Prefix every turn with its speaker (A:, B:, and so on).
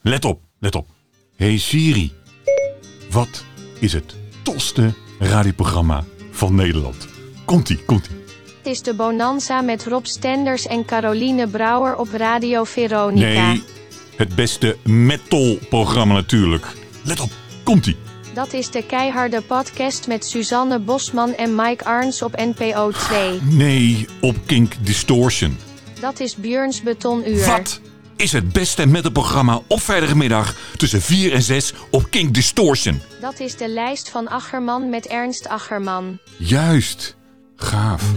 A: Let op, let op. Hey Siri, wat is het tofste radioprogramma van Nederland? Komt-ie, komt-ie.
B: Het is de Bonanza met Rob Stenders en Caroline Brouwer op Radio Veronica.
A: Nee, het beste metalprogramma natuurlijk. Let op, komt-ie.
B: Dat is de keiharde podcast met Suzanne Bosman en Mike Arns op NPO 2.
A: Nee, op Kink Distortion.
B: Dat is Björns Betonuur.
A: Wat is het beste metalprogramma op vrijdagmiddag tussen 4 en 6 op Kink Distortion?
B: Dat is de lijst van Acherman met Ernst Acherman.
A: Juist, gaaf.